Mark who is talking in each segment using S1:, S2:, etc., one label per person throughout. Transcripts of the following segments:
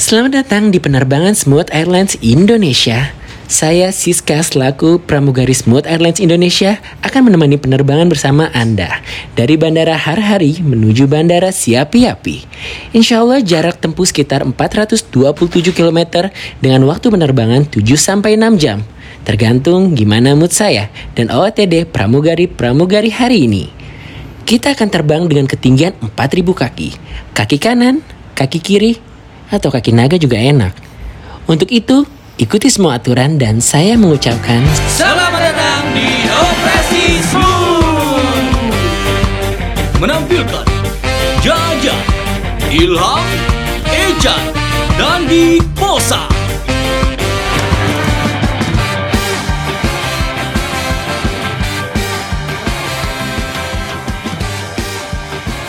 S1: Selamat datang di penerbangan Smooth Airlines Indonesia. Saya Siska selaku pramugari Smooth Airlines Indonesia akan menemani penerbangan bersama Anda dari Bandara Harhari menuju Bandara Siapi-Api. Insya Allah jarak tempuh sekitar 427 km dengan waktu penerbangan 7-6 jam. Tergantung gimana mood saya dan OOTD pramugari-pramugari hari ini. Kita akan terbang dengan ketinggian 4000 kaki. Kaki kanan, kaki kiri, atau kaki naga juga enak. Untuk itu, ikuti semua aturan dan saya mengucapkan
S2: Selamat datang di Operasi Smooth Menampilkan Jaja, Ilham, Ejan, dan di Posa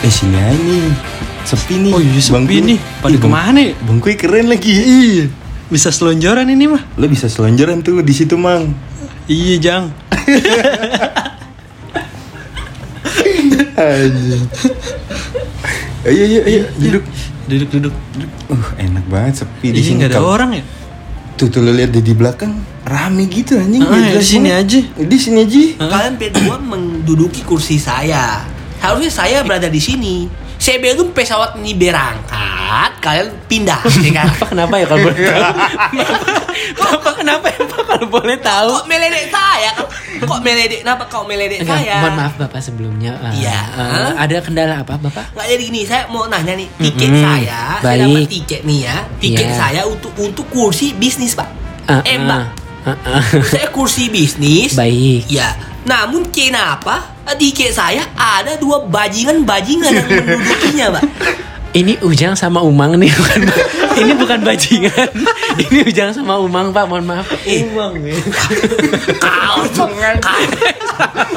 S3: Eh sini aja nih Sepi nih
S4: Oh iya sepi
S3: Bangku-
S4: nih Pada
S3: Ih, bang-
S4: kemana ya?
S3: Bangkunya keren lagi
S4: Iya Bisa selonjoran ini mah
S3: Lo bisa selonjoran tuh di situ mang
S4: Iya Jang
S3: Anjing. Ayo ayo ayo duduk
S4: Iya, Duduk duduk
S3: Uh enak banget sepi di
S4: Iya
S3: sini
S4: nggak ada
S3: Kalau-
S4: orang ya
S3: Tuh tuh lo lihat di di belakang Rame gitu anjing
S4: Ah,
S3: nggak
S4: ya,
S3: jelas
S4: di sini
S3: banget.
S4: aja.
S3: Di sini aja
S2: Kalian berdua menduduki kursi saya Harusnya saya berada di sini Saya belum pesawat ini berangkat Kalian pindah ya kan?
S1: Kenapa kenapa ya kalau boleh tahu? kenapa kenapa ya Pak kalau boleh tahu?
S2: Kok meledek saya? Kok meledek? Kenapa kau meledek
S1: Enggak,
S2: saya?
S1: Ya, mohon maaf Bapak sebelumnya. Eh,
S2: Iya.
S1: eh, ada kendala apa Bapak?
S2: Nggak jadi gini, saya mau nanya nih, tiket
S1: Mm-mm.
S2: saya, saya
S1: Baik.
S2: dapat tiket nih ya, tiket
S1: Iya.
S2: saya untuk untuk kursi bisnis pak,
S1: Eh,
S2: eh
S1: eh,
S2: pak,
S1: eh, eh.
S2: saya kursi bisnis,
S1: Baik.
S2: ya. Namun kenapa tiket saya ada dua bajingan-bajingan yang mendudukinya pak?
S1: Ini Ujang sama Umang nih bukan ini bukan bajingan. ini Ujang sama Umang Pak, mohon maaf.
S4: Umang ya
S2: Eh, Kau itu, kau,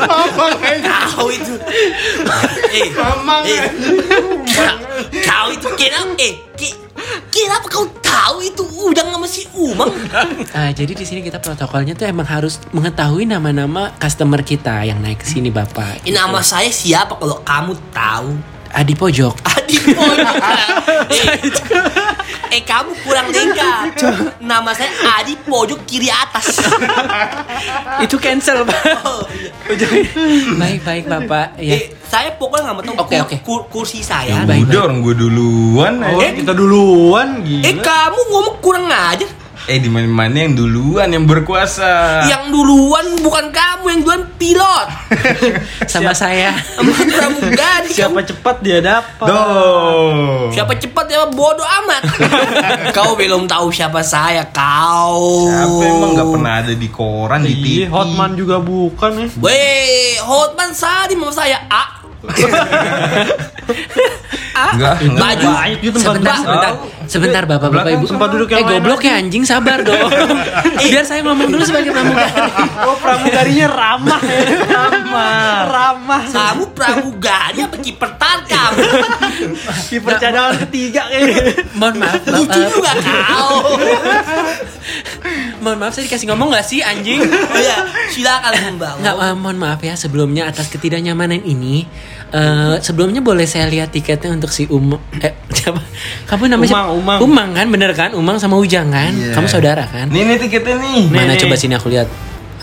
S2: kau itu, eh, eh, kau- kau itu kenapa? Eh, ke- kenapa kau tahu itu udang sama si umang?
S1: Eh, jadi di sini kita protokolnya tuh emang harus mengetahui nama-nama customer kita yang naik ke sini Bapak.
S2: Eh, Nama saya siapa kalau kamu tahu?
S1: Ah, di pojok.
S2: Adi Boy. eh, eh, kamu kurang dengar. Nama saya Adi pojok kiri atas.
S1: itu cancel pak
S2: Oh,
S1: baik baik bapak ya
S2: eh, saya pokoknya nggak mau tahu
S1: Oke,
S2: kur-
S1: oke.
S2: kur- kursi saya.
S1: Baik,
S3: Udah orang gue duluan eh.
S4: Oh
S3: anjing.
S4: kita duluan gila
S2: eh kamu ngomong kurang aja.
S3: Eh di mana mana yang duluan yang berkuasa
S4: Iya,
S2: Yang duluan bukan kamu yang duluan pilot.
S1: sama saya
S2: Emang Pramugari.
S4: Siapa
S2: kamu-
S4: cepat dia dapat
S3: Doh
S2: Siapa cepat ya bodoh amat. kau belum tahu siapa saya kau.
S3: Siapa emang gak pernah ada di koran di TV
S4: Oh. Iya Hotman juga bukan ya
S2: Weh, Hotman Sari mau saya A.
S1: Ah,
S3: Enggak, enggak.
S2: Baju.
S4: Banyak gitu tempat
S1: sebentar
S4: duduk.
S1: sebentar sebentar bapak bapak
S3: belakang
S1: ibu
S4: tempat duduk yang
S1: eh
S4: lain
S1: goblok
S4: aja.
S1: ya anjing sabar dong biar saya ngomong dulu sebagai pramugari
S4: Oh pramugarinya ramah ya Ramah Ramah
S2: Kamu pramugari apa kiper tarkam?
S4: Di percadaan ketiga kayaknya
S1: mohon maaf Bapak.
S2: Lucu juga kau.
S1: mohon maaf saya dikasih ngomong nggak sih anjing
S2: Oh ya, silakan
S1: nggak
S2: membawa.
S1: eh, mohon maaf ya sebelumnya atas ketidaknyamanan ini Eh, sebelumnya boleh saya lihat tiketnya untuk si Um eh siapa kamu namanya siapa?
S4: Umang, Umang.
S1: Umang kan bener kan Umang sama Ujang kan
S3: Iya.
S1: kamu saudara kan
S3: Nih nih tiketnya nih
S4: Nih.
S1: Mana coba sini aku lihat.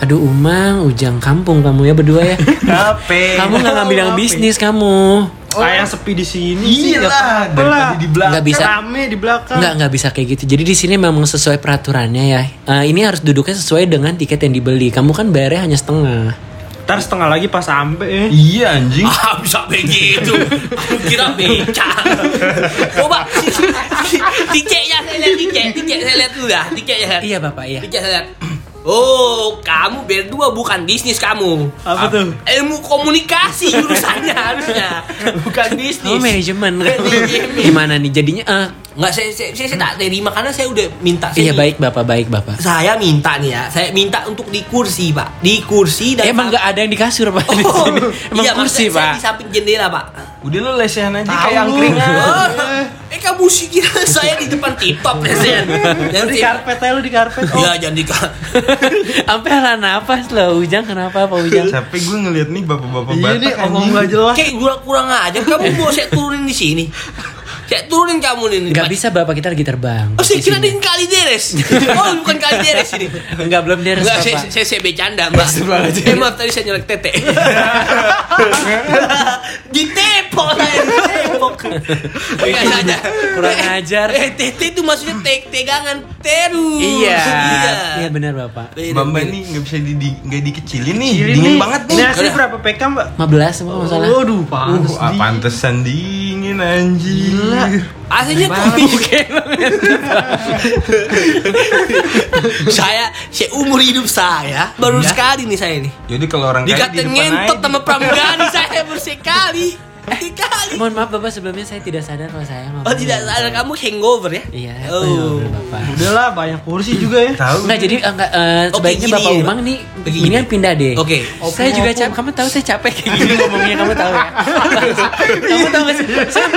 S1: Aduh Umang, Ujang kampung kamu ya berdua ya.
S3: HP
S2: Iya,
S1: kamu nggak ngambil yang bisnis kamu.
S4: Sayang sepi di sini sih,
S3: Iya
S4: nggak
S3: lah
S4: apa-apa lah.
S3: Daripada di
S1: Nggak
S3: belakang
S1: bisa.
S4: Rame di belakang
S1: Nggak nggak bisa kayak gitu. Jadi di sini memang sesuai peraturannya ya. Eh, ini harus duduknya sesuai dengan tiket yang dibeli. Kamu kan bayarnya hanya setengah.
S4: Ntar setengah lagi pas sampai ya
S3: Iya anjing
S2: Ah, bisa begitu. Aku kira beca. Coba tiketnya saya lihat tiket, tiket saya lihat dulu ya. dah, tiketnya. saya lihat.
S1: Iya bapak iya.
S2: Tiket saya lihat. Oh, kamu berdua bukan bisnis kamu.
S4: Apa tuh?
S3: Iya.
S2: Ilmu komunikasi jurusannya harusnya, bukan bisnis.
S1: Oh manajemen.
S2: Manajemen.
S1: Gimana nih jadinya? eh,
S2: Nggak, saya, saya, saya, saya tak terima karena saya udah minta. Saya
S1: iya
S2: minta.
S1: baik bapak baik bapak.
S2: Saya minta nih ya, saya minta untuk di kursi pak, di kursi dan
S1: Emang nggak ada yang di kasur pak di
S2: Iya, Oh,
S1: sini. Emang
S2: iya,
S1: kursi
S2: maksudnya saya
S1: pak.
S2: di samping jendela pak.
S3: Udah lo lesehan aja
S4: Tahu
S3: kayak
S4: lu.
S3: angkringan
S2: Oh, eh kamu sih kira saya di depan tip-top ya Sen? Jangan
S4: Di
S2: tip-
S4: karpet aja lu di karpet
S2: Iya jangan di kar-
S1: Sampai lah nafas loh Ujang kenapa pak Ujang?
S3: Capek gue ngeliat nih bapak-bapak
S4: Iya
S3: Batak
S4: nih omong
S3: anjing.
S4: nggak jelas
S2: Kayak kurang kurang aja kamu mau saya turunin di sini. Saya turun kamu nih.
S1: Nggak bisa bapak kita lagi terbang.
S2: Oh, saya kira
S1: Posisinya.
S2: ini kali deres. Oh, bukan kali deres ini.
S1: Nggak belum dia
S2: Enggak, saya, saya, saya bercanda, Mbak. Eh, maaf, tadi saya nyelek tete. Ditepok saya, ditepok. Enggak saja.
S1: Kurang ajar.
S2: Eh, tete itu maksudnya te tegangan terus.
S1: Iya. Iya
S2: Iya.
S1: benar bapak.
S3: Mamba nih nggak bisa di, di- nggak dikecilin nih,
S4: Kecilin Nah,
S3: dingin banget nih.
S4: Ini asli
S2: Udah.
S4: berapa PK mbak?
S1: 15 semua masalah.
S4: Waduh,
S3: Uh,
S4: panas
S3: ah, pantesan dingin anjir.
S2: Aslinya kopi. saya, saya umur hidup saya baru sekali nih saya nih.
S3: Jadi kalau orang kaya Iya. di
S2: Dikata
S3: depan
S2: ngentot
S3: aja.
S2: sama pramugari saya bersekali. Sekali.
S1: Mohon maaf bapak sebelumnya saya tidak sadar kalau saya ngomong.
S2: Oh tidak sadar kamu hangover ya?
S1: Iya.
S2: Oh.
S1: bener, bapak.
S4: Udah lah banyak kursi juga ya
S3: Tahu?
S1: Nah jadi eh, enggak eh,
S2: Oke,
S1: sebaiknya
S2: gini
S1: Bapak
S2: ya, Pak.
S1: Umang nih
S2: Begini.
S1: mendingan pindah deh.
S2: Oke.
S1: Saya juga capek. Kamu tahu saya capek kayak gini ngomongnya. Kamu tahu ya. kamu tahu nggak sih? Saya,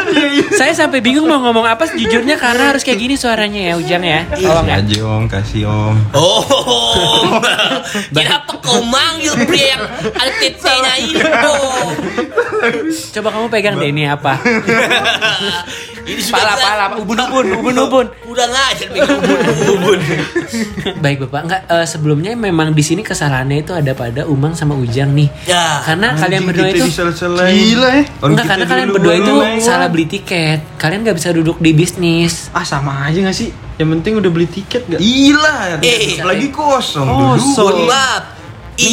S1: saya sampai bingung mau ngomong apa sejujurnya karena harus kayak gini suaranya ya Ujang ya.
S2: Iya.
S1: Tolong ya.
S3: Kasih aja om, kasih om.
S2: Oh, kenapa kau manggil pria yang ada tetenya ini, Bro?
S1: Coba kamu pegang deh ini apa?
S2: Ini sudah
S1: Pala
S2: jelas.
S1: pala ubun ubun ubun ubun.
S2: Kurang ajar pegang ubun-ubun.
S1: Baik Bapak, enggak eh, sebelumnya memang di sini kesalahannya itu ada pada Umang sama Ujang nih.
S2: Ya.
S1: Karena Kan kalian
S3: Anjing,
S1: berdua
S3: kita
S1: itu
S3: disel-selain.
S4: Gila ya.
S3: Orang
S1: Enggak,
S3: eh. kita
S1: karena kalian
S3: dulu
S1: berdua itu
S3: main.
S1: salah beli tiket. Kalian nggak bisa duduk di bisnis.
S4: Ah sama aja gak sih? Yang penting udah beli tiket
S3: Iya.
S4: gak?
S3: Gila,
S2: Eh.
S3: lagi kosong
S4: Kosong.
S3: dulu.
S2: Mohon maaf.
S3: Ini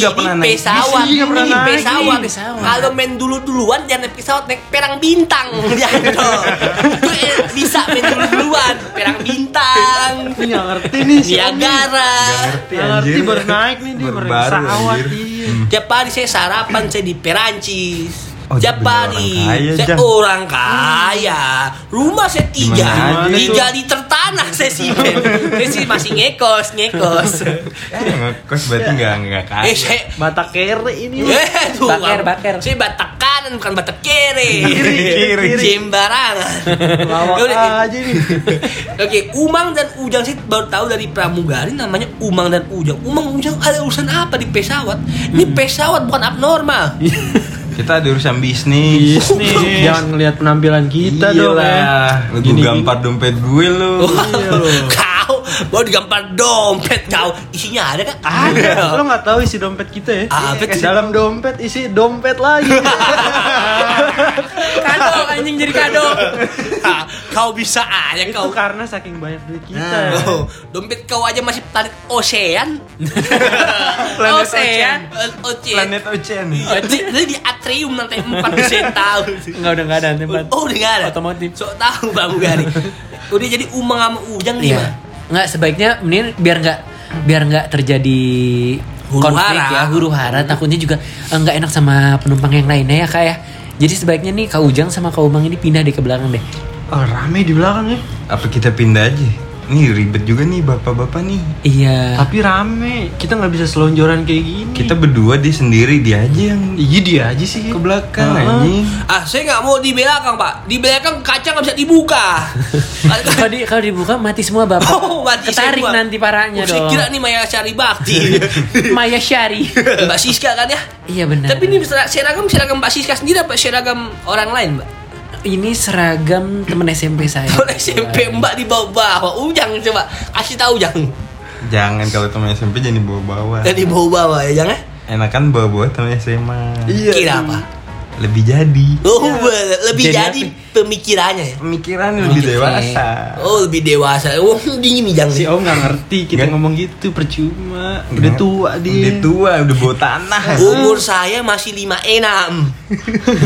S2: Ini
S3: nggak pernah naik.
S2: pesawat,
S4: Ini nggak pernah
S2: ini
S4: naik.
S2: pesawat.
S1: Ini pesawat.
S2: Kalau main dulu duluan jangan naik pesawat naik perang bintang, ya toh. Itu eh, bisa main dulu duluan, perang bintang,
S4: Ini gak ngerti nih si Om nih.
S2: Niagara.
S3: ngerti
S4: Nggak ngerti
S3: anjir.
S4: baru naik nih dia baru
S3: Baru-baru,
S4: pesawat
S3: anjir. Hmm.
S4: iya.
S2: Tiap hari saya sarapan saya di Perancis.
S3: Oh, dia
S2: Tiap hari
S3: bener orang kaya,
S2: saya
S3: Jang.
S2: orang kaya. Rumah saya tiga,
S3: Gimana
S4: aja
S2: tiga
S4: tuh?
S2: liter tanah saya simpen. saya sih masih ngekos, ngekos.
S3: Eh, ngekos berarti nggak nggak kaya.
S2: eh saya
S4: Batak kere ini Mbak.
S2: Eh, tuh,
S1: Iya, Baker,
S2: Bang.
S1: baker.
S2: Saya batak kanan bukan batak kiri.
S3: Kiri, kiri.
S2: Sembarangan.
S4: Lawak
S2: Udah, eh,
S4: aja nih
S2: Oke, Umang dan Ujang sih baru tahu dari pramugari namanya Umang dan Ujang. Umang Ujang ada urusan apa di pesawat? Ini
S1: Hmm.
S2: pesawat bukan abnormal.
S1: Iya,
S3: Kita ada urusan bisnis.
S4: Nih, Jangan ngelihat penampilan kita
S3: Iya.
S4: dong ya
S3: lah. Lu gua gampar dompet gue lu.
S2: Oh,
S1: iya,
S2: kau baru digampar dompet kau. Isinya ada kan? Ada.
S4: Lo gak tahu isi dompet kita ya?
S2: Apa sih?
S4: Dalam dompet isi dompet lagi.
S1: Kado anjing jadi kado.
S2: Ah, kau bisa aja
S4: Itu
S2: kau.
S4: karena saking banyak duit kita. ya.
S3: Nah.
S2: Oh, dompet kau aja masih planet ocean.
S1: Planet Ocean.
S2: Ocean.
S3: Planet Ocean.
S2: Jadi jadi di atrium nanti empat persen tahu.
S1: Enggak udah enggak ada tempat.
S2: Oh udah nggak ada.
S1: Otomotif.
S2: So tahu Pak Mugari. Udah jadi umang sama ujang nih Pak.
S1: Iya. Enggak sebaiknya mending biar enggak biar enggak terjadi
S2: Huru
S1: konflik
S2: hara.
S1: ya huru hara takutnya juga eh, enggak enak sama penumpang yang lainnya ya kak ya. Jadi sebaiknya nih Kak Ujang sama Kak Umang ini pindah deh ke belakang deh.
S4: Oh, rame di belakang ya.
S2: Nah.
S3: Apa kita pindah aja? Nih ribet juga nih bapak-bapak nih.
S1: Iya.
S4: Tapi rame. Kita nggak bisa selonjoran kayak gini.
S3: Kita berdua dia sendiri dia aja yang
S4: iya dia aja sih.
S3: ke belakang
S4: Ah.
S3: anjing.
S2: Ah saya nggak mau di belakang Pak. Di belakang kaca nggak bisa dibuka.
S1: Kalau di, kalau dibuka mati semua bapak.
S2: Oh, mati
S1: Ketarik
S2: semua.
S1: nanti parahnya
S2: Oh, Saya
S1: dong.
S2: kira nih Maya Syari Bakti.
S1: Maya Syari.
S2: Mbak Siska kan ya?
S1: iya benar.
S2: Tapi ini ser- seragam seragam Mbak Siska sendiri apa seragam orang lain Mbak?
S1: ini seragam temen SMP saya.
S2: Kalau SMP Mbak di bawah-bawah. Ujang coba kasih tahu Ujang.
S3: Jangan kalau teman SMP jangan dibawa-bawa.
S2: Dan di bawah-bawah ya jangan.
S3: Enakan bawa-bawa teman SMA.
S4: Iya.
S2: Kira apa?
S3: Lebih jadi.
S2: Oh, be- lebih
S1: Jadi
S2: jadi, pemikirannya ya.
S3: Pemikiran
S1: Oke.
S3: lebih dewasa.
S2: Oh, lebih dewasa. Oh, dingin nih jangan.
S4: Si Om nggak ngerti kita
S3: Nggak.
S4: ngomong gitu percuma. Udah tua
S3: Udah
S4: dia.
S3: tua, udah bawa tanah.
S2: Umur saya masih 56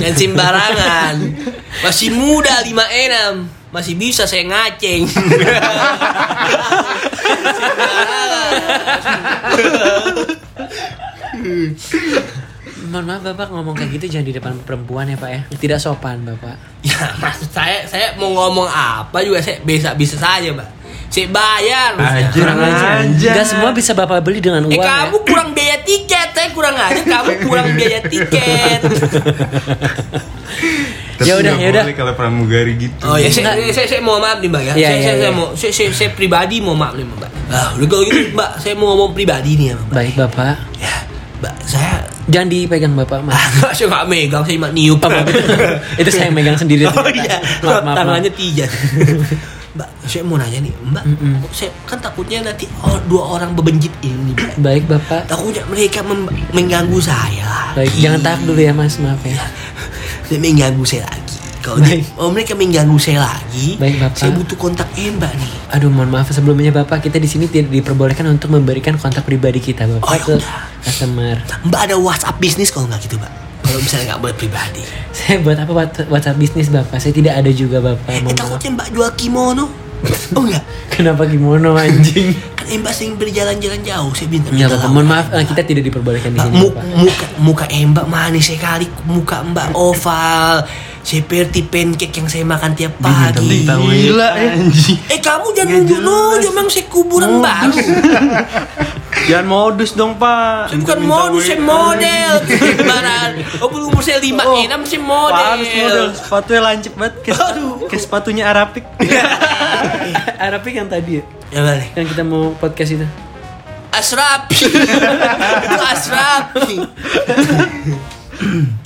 S2: Dan sembarangan Masih muda 56 Masih bisa saya ngaceng
S1: Mohon maaf bapak ngomong kayak gitu jangan di depan perempuan ya pak ya. Tidak sopan bapak.
S2: Ya maksud saya Saya mau ngomong apa juga Saya bisa-bisa saja mbak Saya bayar maksudnya.
S3: Ajar. Kurang ajar.
S1: Gak semua bisa bapak beli dengan uang.
S2: Eh
S1: ya.
S2: kamu kurang biaya tiket Saya kurang aja Kamu kurang biaya tiket
S3: Tapi
S1: Ya udah,
S3: nggak
S1: ya udah.
S3: boleh kalau pramugari gitu.
S2: Oh ya saya,
S1: Enggak.
S2: saya, saya mau maaf nih mbak
S1: Iya,
S2: ya, saya,
S1: iya,
S2: saya, saya
S1: iya.
S2: mau saya, saya, saya pribadi mau maaf nih mbak. Ah, udah kalau gitu mbak, saya mau ngomong pribadi nih ya mbak.
S1: Baik bapak.
S2: Ya, Mbak, saya
S1: Jangan dipegang bapak mas.
S2: Enggak, saya nggak megang, saya cuma niup.
S1: Oh, maaf. itu saya yang megang sendiri.
S2: Oh
S1: ternyata.
S2: iya,
S1: Maaf, maaf,
S2: tangannya
S1: maaf.
S2: tiga. Mbak, saya mau nanya nih, Mbak, kok saya kan takutnya nanti o- dua orang bebenjit ini, Mbak.
S1: Baik bapak.
S2: Takutnya mereka mem- mengganggu saya.
S1: Baik.
S2: lagi.
S1: Jangan tak dulu ya mas. Maaf ya.
S2: Dia mengganggu saya lagi. Kalau dia-
S1: Baik.
S2: oh, mereka mengganggu saya lagi,
S1: Baik, Bapak.
S2: saya butuh kontak eh, Mbak nih.
S1: Aduh mohon maaf sebelumnya bapak kita di sini tidak diperbolehkan untuk memberikan kontak pribadi kita bapak
S2: Oh, ya
S1: ke
S2: udah.
S1: customer.
S2: Mbak ada WhatsApp bisnis kalau nggak gitu, Mbak. Kalau misalnya nggak boleh pribadi.
S1: Saya buat apa Wat- WhatsApp bisnis bapak? Saya tidak ada juga bapak.
S2: Eh,
S1: Mohon maaf.
S2: takutnya Mbak jual kimono. Oh enggak,
S1: Kenapa kimono anjing?
S2: kan eh, Mbak sering berjalan-jalan jauh, saya minta
S1: Ya
S2: minta
S1: bapak.
S2: lawan.
S1: Mohon maaf eh, kita tidak diperbolehkan di
S2: Mbak,
S1: sini
S2: mu-
S1: bapak.
S2: muka muka eh, Mbak manis sekali, muka Mbak oval, seperti pancake yang saya makan tiap pagi.
S1: ya.
S4: Gila eh. anjing.
S2: Eh kamu
S1: Iya,
S2: jangan nunjuk-nunjuk, emang saya
S1: Oh.
S2: kuburan baru.
S4: Jangan modus dong, Pak.
S2: Saya bukan modus, saya model. Kembaran. Oh, belum umur saya lima,
S4: Oh,
S2: enam saya
S4: Harus model.
S2: model.
S4: Sepatunya lancip banget. Kayak,
S2: Aduh. Iya.
S4: kayak sepatunya Arapik.
S1: Arapik yang tadi ya?
S2: Ya boleh.
S1: Yang kita mau podcast itu.
S2: Asrapi. Itu Asrapi.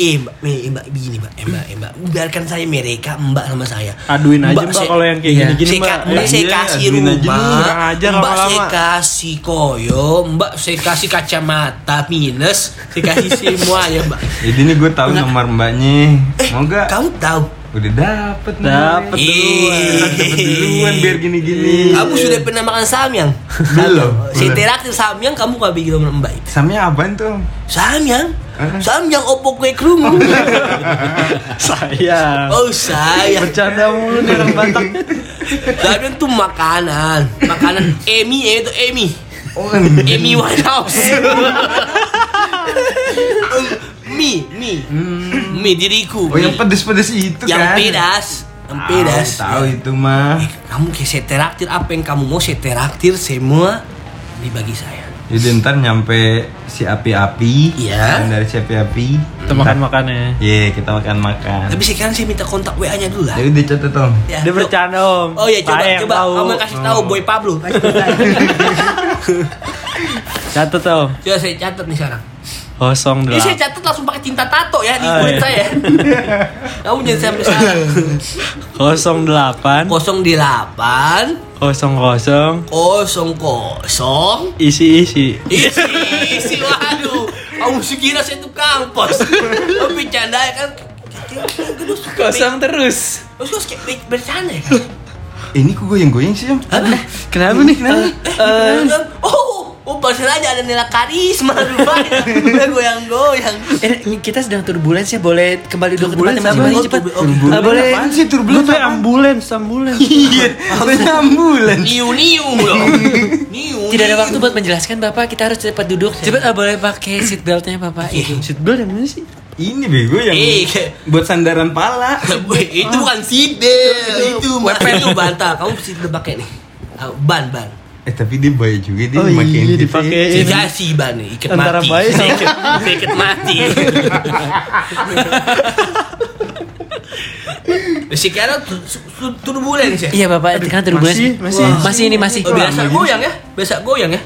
S2: Eh mbak, eh, mbak begini mbak, eh, mbak, eh, mbak, biarkan saya mereka mbak sama saya.
S4: Aduin aja, Mbak,
S2: saya-
S4: kalau yang kayak
S1: iya.
S4: gini-gini,
S2: saya,
S4: Mbak.
S2: ka- mbak
S4: Eh,
S2: saya
S4: iya,
S2: kasih
S4: aduin aja,
S2: rumah,
S4: lu kurang ajar
S2: mbak saya
S4: lama-lama.
S2: kasih koyo, mbak saya kasih kacamata minus, saya kasih semua ya mbak.
S3: Jadi ini gue tahu nomor mbaknya.
S2: Eh,
S3: Mau gak?
S2: Kamu tahu Eh.
S3: Udah dapet nih.
S4: Dapet
S2: Ih.
S3: Dapet duluan biar gini-gini.
S2: Kamu sudah pernah makan samyang?
S3: Iya. Belum.
S2: Saya
S3: Belum.
S2: terakhir samyang kamu gak bikin sama mbak itu.
S3: Samnya apaan tuh?
S2: Samyang?
S3: Eh?
S2: Samyang opo kue kerungu.
S4: Saya.
S2: oh saya.
S4: Iya. Bercanda mulu nih orang Batak.
S2: Samyang tuh makanan. Makanan Emi ya itu Emi.
S3: Oh,
S2: Emi Winehouse. mi, mi. Mi diriku.
S3: oh
S2: mi.
S3: yang pedes-pedes itu
S2: Yang
S3: kan?
S2: pedas. Yang pedas. Iya. Eh,
S3: Tahu, tahu itu mah.
S2: Kamu kayak saya traktir apa yang kamu mau saya traktir semua dibagi saya.
S3: Jadi ntar nyampe si api-api.
S2: Iya. Hmm.
S3: Dan dari si api-api.
S4: Kita ya. makan-makannya.
S3: Iya, kita makan-makan.
S2: Tapi sekarang saya minta kontak WA-nya dulu lah.
S3: Jadi udah catat dong.
S2: Ya,
S4: Dia
S2: lo-
S4: bercanda, Om.
S2: Oh iya coba
S4: Saya yang
S2: coba
S4: tahu. Hmm.
S2: kamu kasih tahu Boy Pablo. Kasih tahu saya.
S4: Catat, Om.
S2: coba saya catat nih sekarang.
S4: Kosong
S2: Ini Iya, saya
S4: delapan.
S2: catat langsung pakai tinta tato ya di
S4: Oh,
S2: kulit
S4: iya.
S2: saya. kamu jangan sampai salah.
S4: Kosong delapan.
S2: Kosong delapan,
S4: Kosong kosong.
S2: kosong kosong.
S4: Isi isi.
S2: Isi, isi, waduh. Kamu sih kira saya tukang pos. Kamu bercanda ya kan?
S1: Kosong terus.
S2: Terus kau kayak ber- bercanda ya kan?
S3: Ini kok goyang-goyang sih, Om?
S4: Kenapa nih? Kenapa? nih?
S2: Eh,
S4: eh,
S2: Oh, oh, bahasa aja ada nilai karisma rupanya. Udah goyang-goyang.
S1: Eh, kita sedang turbulens ya boleh kembali dulu ke tempat yang
S2: apa?
S1: masing-masing cepat.
S2: Oh,
S1: Ah,
S4: eh,
S1: boleh.
S3: Apaan sih
S4: Lu
S3: turbulent?
S4: tuh ambulans, ambulans.
S3: Iya, apaan ambulan.
S2: Niu niu loh. Niu.
S1: Tidak ada waktu buat menjelaskan bapak, kita harus cepat duduk. Cepat ah, boleh pakai seat beltnya bapak. Itu.
S4: Seatbelt yang mana sih?
S3: Ini bego yang
S2: Eh, kayak-
S3: buat sandaran pala.
S2: itu bukan sidel, itu wepen itu bantal. Kamu mesti pakai nih. Ah, Ban ban.
S3: Eh tapi dia bayar juga dia
S4: Oh
S3: makin
S4: iya,
S3: gitu
S4: dipakai.
S3: ya.
S4: Ini.
S2: Sisa si ban nih, ikat
S4: Antara
S2: mati.
S4: bayi sama-
S2: ikat, saya ikat mati. Sekarang tu- su- su- turbulen sih.
S1: Iya bapak, karena turbulens.
S4: masih, masih.
S1: Wah. masih ini masih. Hmm?
S2: Oh, biasa goyang ya, biasa goyang ya.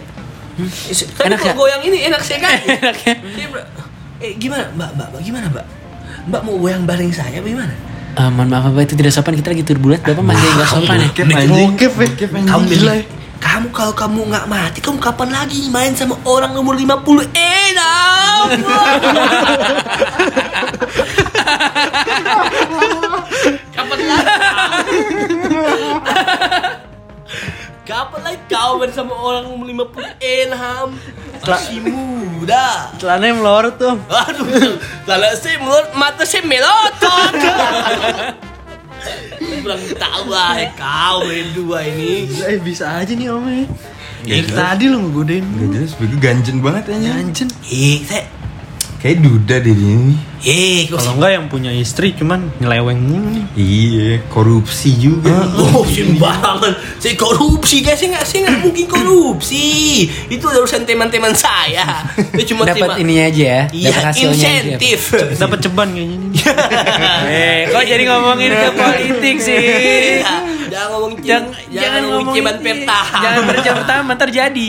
S2: Tapi
S1: Enak
S2: kalau
S1: ya?
S2: goyang ini enak sekali.
S1: Enak ya?
S2: Saya ber- Eh gimana mbak, mbak, mbak gimana mbak? Mbak mau goyang bareng saya bagaimana?
S1: Ah, mohon maaf bapak itu tidak sopan, kita lagi turbulens. Bapak masih nggak sopan ya.
S3: Kep anjing.
S4: Bokep ya.
S3: Kep
S2: Kamu
S3: anjing.
S2: bilang, kamu kalau kamu nggak mati, kamu kapan lagi main sama orang umur 50? Enak. kapan lagi? kapan lagi kau main sama orang umur 50? Enak. Masih Eh, muda.
S4: Celananya melorot tuh.
S2: Aduh, lalu saya mulut mata saya melotot. Kurang tahu ah kau berdua ini.
S4: Eh bisa aja nih Om ya.
S3: Ya,
S4: Dari tadi lu ngegodain
S3: Gak jelas bego ganjen banget anjing.
S4: Anjen.
S2: Eh, saya
S3: Kayak duda deh dia ini.
S2: eh kok
S4: Kalau enggak yang punya istri cuman nyeleweng mulu nih.
S3: Iya, korupsi juga. nih.
S2: Oh, sembarangan. Saya korupsi, guys. Saya nggak, saya nggak mungkin korupsi. Itu ada urusan teman-teman saya. Saya cuma
S1: Dapat
S2: terima-
S1: ini aja ya. Dapat
S2: Iya,
S1: hasilnya aja.
S2: insentif.
S4: Dapat ceban kayaknya nih.
S1: Eh, kok jadi ngomongin ke politik sih?
S2: Iya, jangan ngomong cim-
S1: Jangan, jangan ngomongin
S2: ceban per tahap.
S1: Jangan berjam pertama ntar jadi.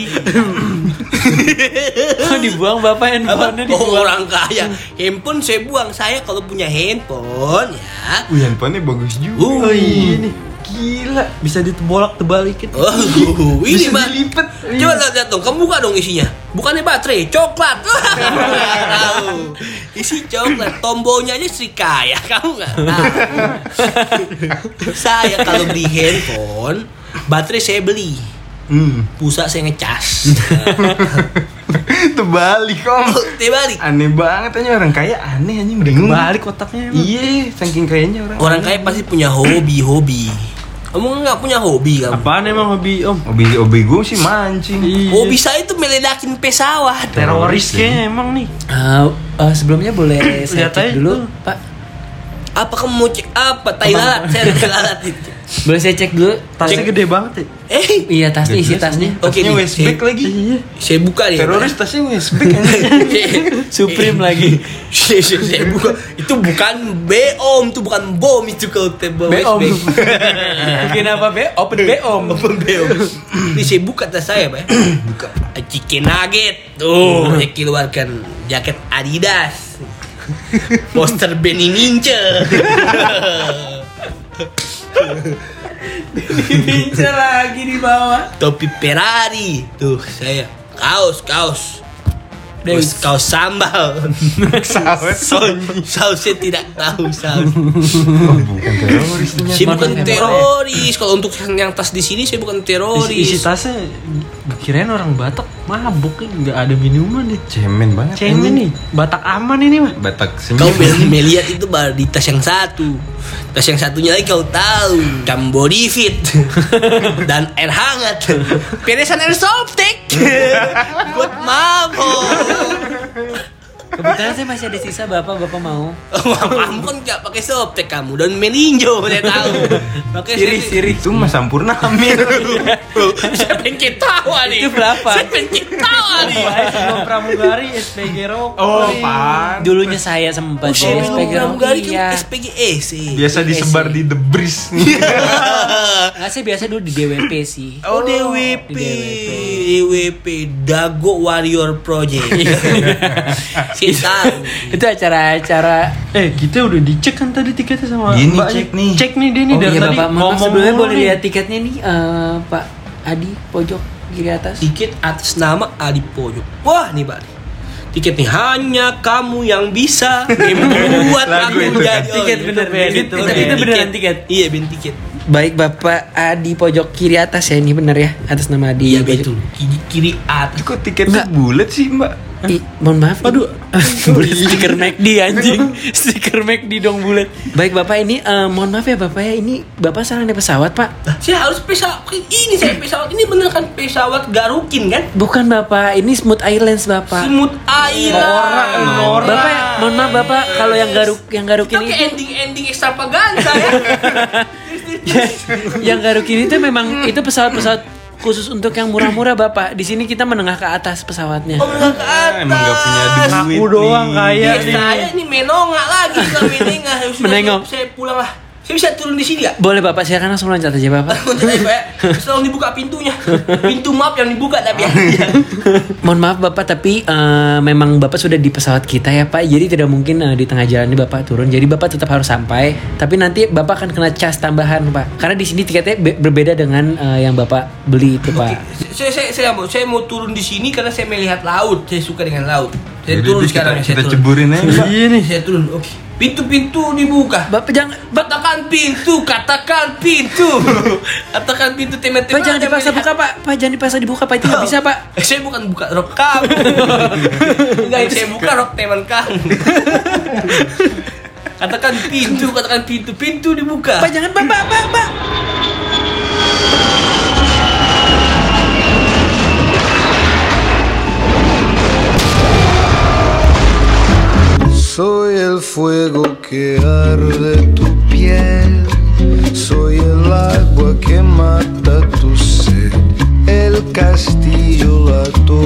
S4: dibuang bapak
S2: Apa?
S4: handphonenya
S2: Oh,
S4: dibuang.
S2: orang kaya. Handphone saya buang. Saya kalau punya handphone ya.
S5: Wih, handphonenya bagus juga.
S2: Uh.
S5: Oh,
S1: Hmm.
S5: iya nih.
S4: Gila, bisa ditbolak tebalikin.
S2: Oh, ini
S5: Bisa
S2: mah.
S5: dilipet.
S2: Coba lihat, lihat dong, kamu buka dong isinya. Bukannya baterai, coklat. Tahu. Isi coklat, tombolnya aja Sri Kaya, kamu nggak tahu. saya kalau beli handphone, baterai saya beli,
S5: Hmm.
S2: pulsa saya ngecas.
S5: Terbalik om.
S2: Dia balik.
S5: Aneh banget aja orang kaya aneh anjing
S1: Hmm.
S5: bingung.
S4: Balik otaknya emang.
S5: Iya, saking kayaknya orang.
S2: Orang kaya pasti punya hobi-hobi. Kamu nggak punya hobi kamu?
S4: Apaan emang hobi om?
S5: Hobi hobi gue sih mancing.
S2: Hobi saya itu meledakin pesawat.
S4: Teroris kayaknya emang nih.
S1: Oh, sebelumnya boleh saya
S4: Lihat
S1: cek
S4: aja
S1: dulu,
S4: tuh.
S1: Pak.
S2: Apa kamu mau cek apa? Tai lalat, saya tai lalat itu.
S1: Boleh saya cek dulu?
S4: Tasnya gede banget ya.
S2: Eh,
S1: Iya, tasnya isi
S5: Jelas,
S1: tasnya.
S5: anjing. Tasnya
S2: Oke, Eh, nih.
S5: Westback
S2: Oke.
S5: lagi.
S4: Iya.
S2: saya buka nih.
S5: Teroris tasnya Westback anjing.
S1: Supreme lagi.
S2: Saya- saya- saya buka. itu bukan BOM, itu bukan bom itu kalau tebal
S1: Beom. Bikin apa be? Open beom.
S2: Apa BOM? Ini saya buka tas saya, Pak. Buka. Chicken nugget. Tuh,
S1: Hmm.
S2: saya keluarkan jaket Adidas. Poster Benny Ninja.
S1: Pincer lagi di bawah.
S2: Topi Ferrari. Tuh, saya kaos, kaos. Terus kaos sambal. Saus, sausnya tidak tahu saus.
S5: Oh, bukan teroris
S4: Iya,
S5: ternyata.
S2: Saya bukan
S1: Makan
S2: teroris. Kalau untuk yang tas di sini saya bukan teroris.
S4: Isi, isi tasnya kirain orang Batak mabuk nih, nggak ada minuman deh.
S5: Cemen banget.
S4: Cengnya
S5: anjing.
S4: nih, Batak aman ini mah.
S5: Batak senyum.
S2: Kau mel- melihat itu baru di tas yang satu. Tas yang satunya lagi kau tahu. Jam body fit. Dan air hangat. Peresan air softtek. Buat mabok.
S1: Kebetulan saya masih ada sisa Bapak, Bapak mau.
S2: Kamu kan gak pakai softtek kamu. Dan meninjo saya tahu. Pakai
S5: Siri itu mah sampurna hamil.
S2: Iya. Saya pengen ketawa nih.
S1: Itu berapa?
S2: Saya pengen ketawa nih.
S4: Sebelum pramugari SPG rokok.
S5: oh,
S2: iya.
S5: pan.
S1: Dulunya saya sempat
S2: Saya
S1: jadi
S2: minum
S1: SPG.
S2: pramugari
S1: Iya.
S2: kan SPGS.
S5: Biasa disebar di The Breeze nih.
S2: Iya.
S1: Nah, saya biasa dulu di DWP sih.
S2: Oh, DWP.
S1: Di DWP.
S2: DWP Dago Warrior Project. si tahu.
S1: Itu acara-acara
S4: Eh, kita udah dicek kan tadi tiketnya sama
S5: Dia nih
S4: mbaknya.
S5: cek nih.
S4: Cek nih dia nih
S1: Oh
S4: dari
S1: iya
S4: tadi.
S1: Bapak, maaf
S4: ngomong
S1: sebelumnya
S4: mulu
S1: boleh
S4: nih.
S1: lihat tiketnya nih eh, Pak Adi pojok kiri atas.
S2: Tiket atas nama Adi Poyo. Wah, nih Pak. Tiket nih hanya kamu yang bisa membuat
S5: Lagu
S2: aku
S5: itu kan?
S2: jadi
S1: Tiket
S2: iya,
S1: bener,
S2: itu
S1: Ben.
S2: band, itu
S1: Itu-
S2: band.
S1: itu beneran tiket.
S2: Iya, ben tiket.
S1: Baik Bapak Adi pojok kiri atas ya ini benar ya atas nama Adi.
S2: Iya,
S1: pojok-
S2: betul. Kiri, kiri atas.
S5: Kok tiketnya bulat sih, Mbak?
S1: Ih, mohon maaf. Aduh, bulat stiker McD anjing. stiker McD dong bulat. Baik Bapak ini eh, mohon maaf ya Bapak ya ini Bapak salah naik pesawat Pak.
S2: Saya harus pesawat ini saya pesawat ini bener kan pesawat Garukin kan?
S1: Bukan Bapak, ini Smooth Airlines Bapak.
S2: Smooth Island.
S1: Bapak, ya, mohon maaf Bapak kalau yang garuk yang garukin
S2: Pakai
S1: itu
S2: ending-ending ekstravaganza ya.
S1: yang garukin itu memang itu pesawat-pesawat khusus untuk yang murah-murah Bapak. Di sini kita menengah ke atas pesawatnya.
S2: Menengah ke atas.
S5: Emang gak punya duit
S4: Aku
S5: nih.
S4: doang kaya
S2: Iya,
S4: nih.
S2: saya ini menongak lagi ke menengah. Sudah,
S1: Menengok.
S2: Saya pulang lah. Saya bisa turun di sini ya?
S1: Boleh Bapak silakan langsung loncat aja Bapak.
S2: Untuk saya, Pak. Tolong dibuka pintunya. Pintu map yang dibuka tapi ya.
S1: Mohon maaf Bapak tapi eh, memang Bapak sudah di pesawat kita ya Pak. Jadi tidak mungkin eh, di tengah jalan ini Bapak turun. Jadi Bapak tetap harus sampai. Tapi nanti Bapak akan kena cas tambahan Pak. Karena di sini tiketnya be- berbeda dengan eh, yang Bapak beli itu Pak.
S2: Saya, saya, saya mau, saya mau turun di sini karena saya melihat laut. Saya suka dengan laut. Saya
S5: Jadi
S2: turun
S5: kita-
S2: sekarang. ya, saya
S5: Kita
S2: turun.
S5: ceburin aja, Mbak.
S4: Iya nih.
S2: Saya turun. Oke. Pintu-pintu dibuka.
S1: Bapak jangan
S2: Katakan pintu, katakan pintu. katakan pintu tema-tema.
S1: Pak jangan dipaksa buka Pak. Pak jangan dipaksa dibuka Pak itu nggak bisa Pak.
S2: Eh, Saya bukan buka rok kamu. Enggak, saya buka rok teman kamu. Katakan pintu, katakan pintu, pintu dibuka.
S1: Pak jangan Pak Pak Pak. Pak.
S6: Soy el fuego que arde tu piel, soy el agua que mata tu sed, el castillo, la torre.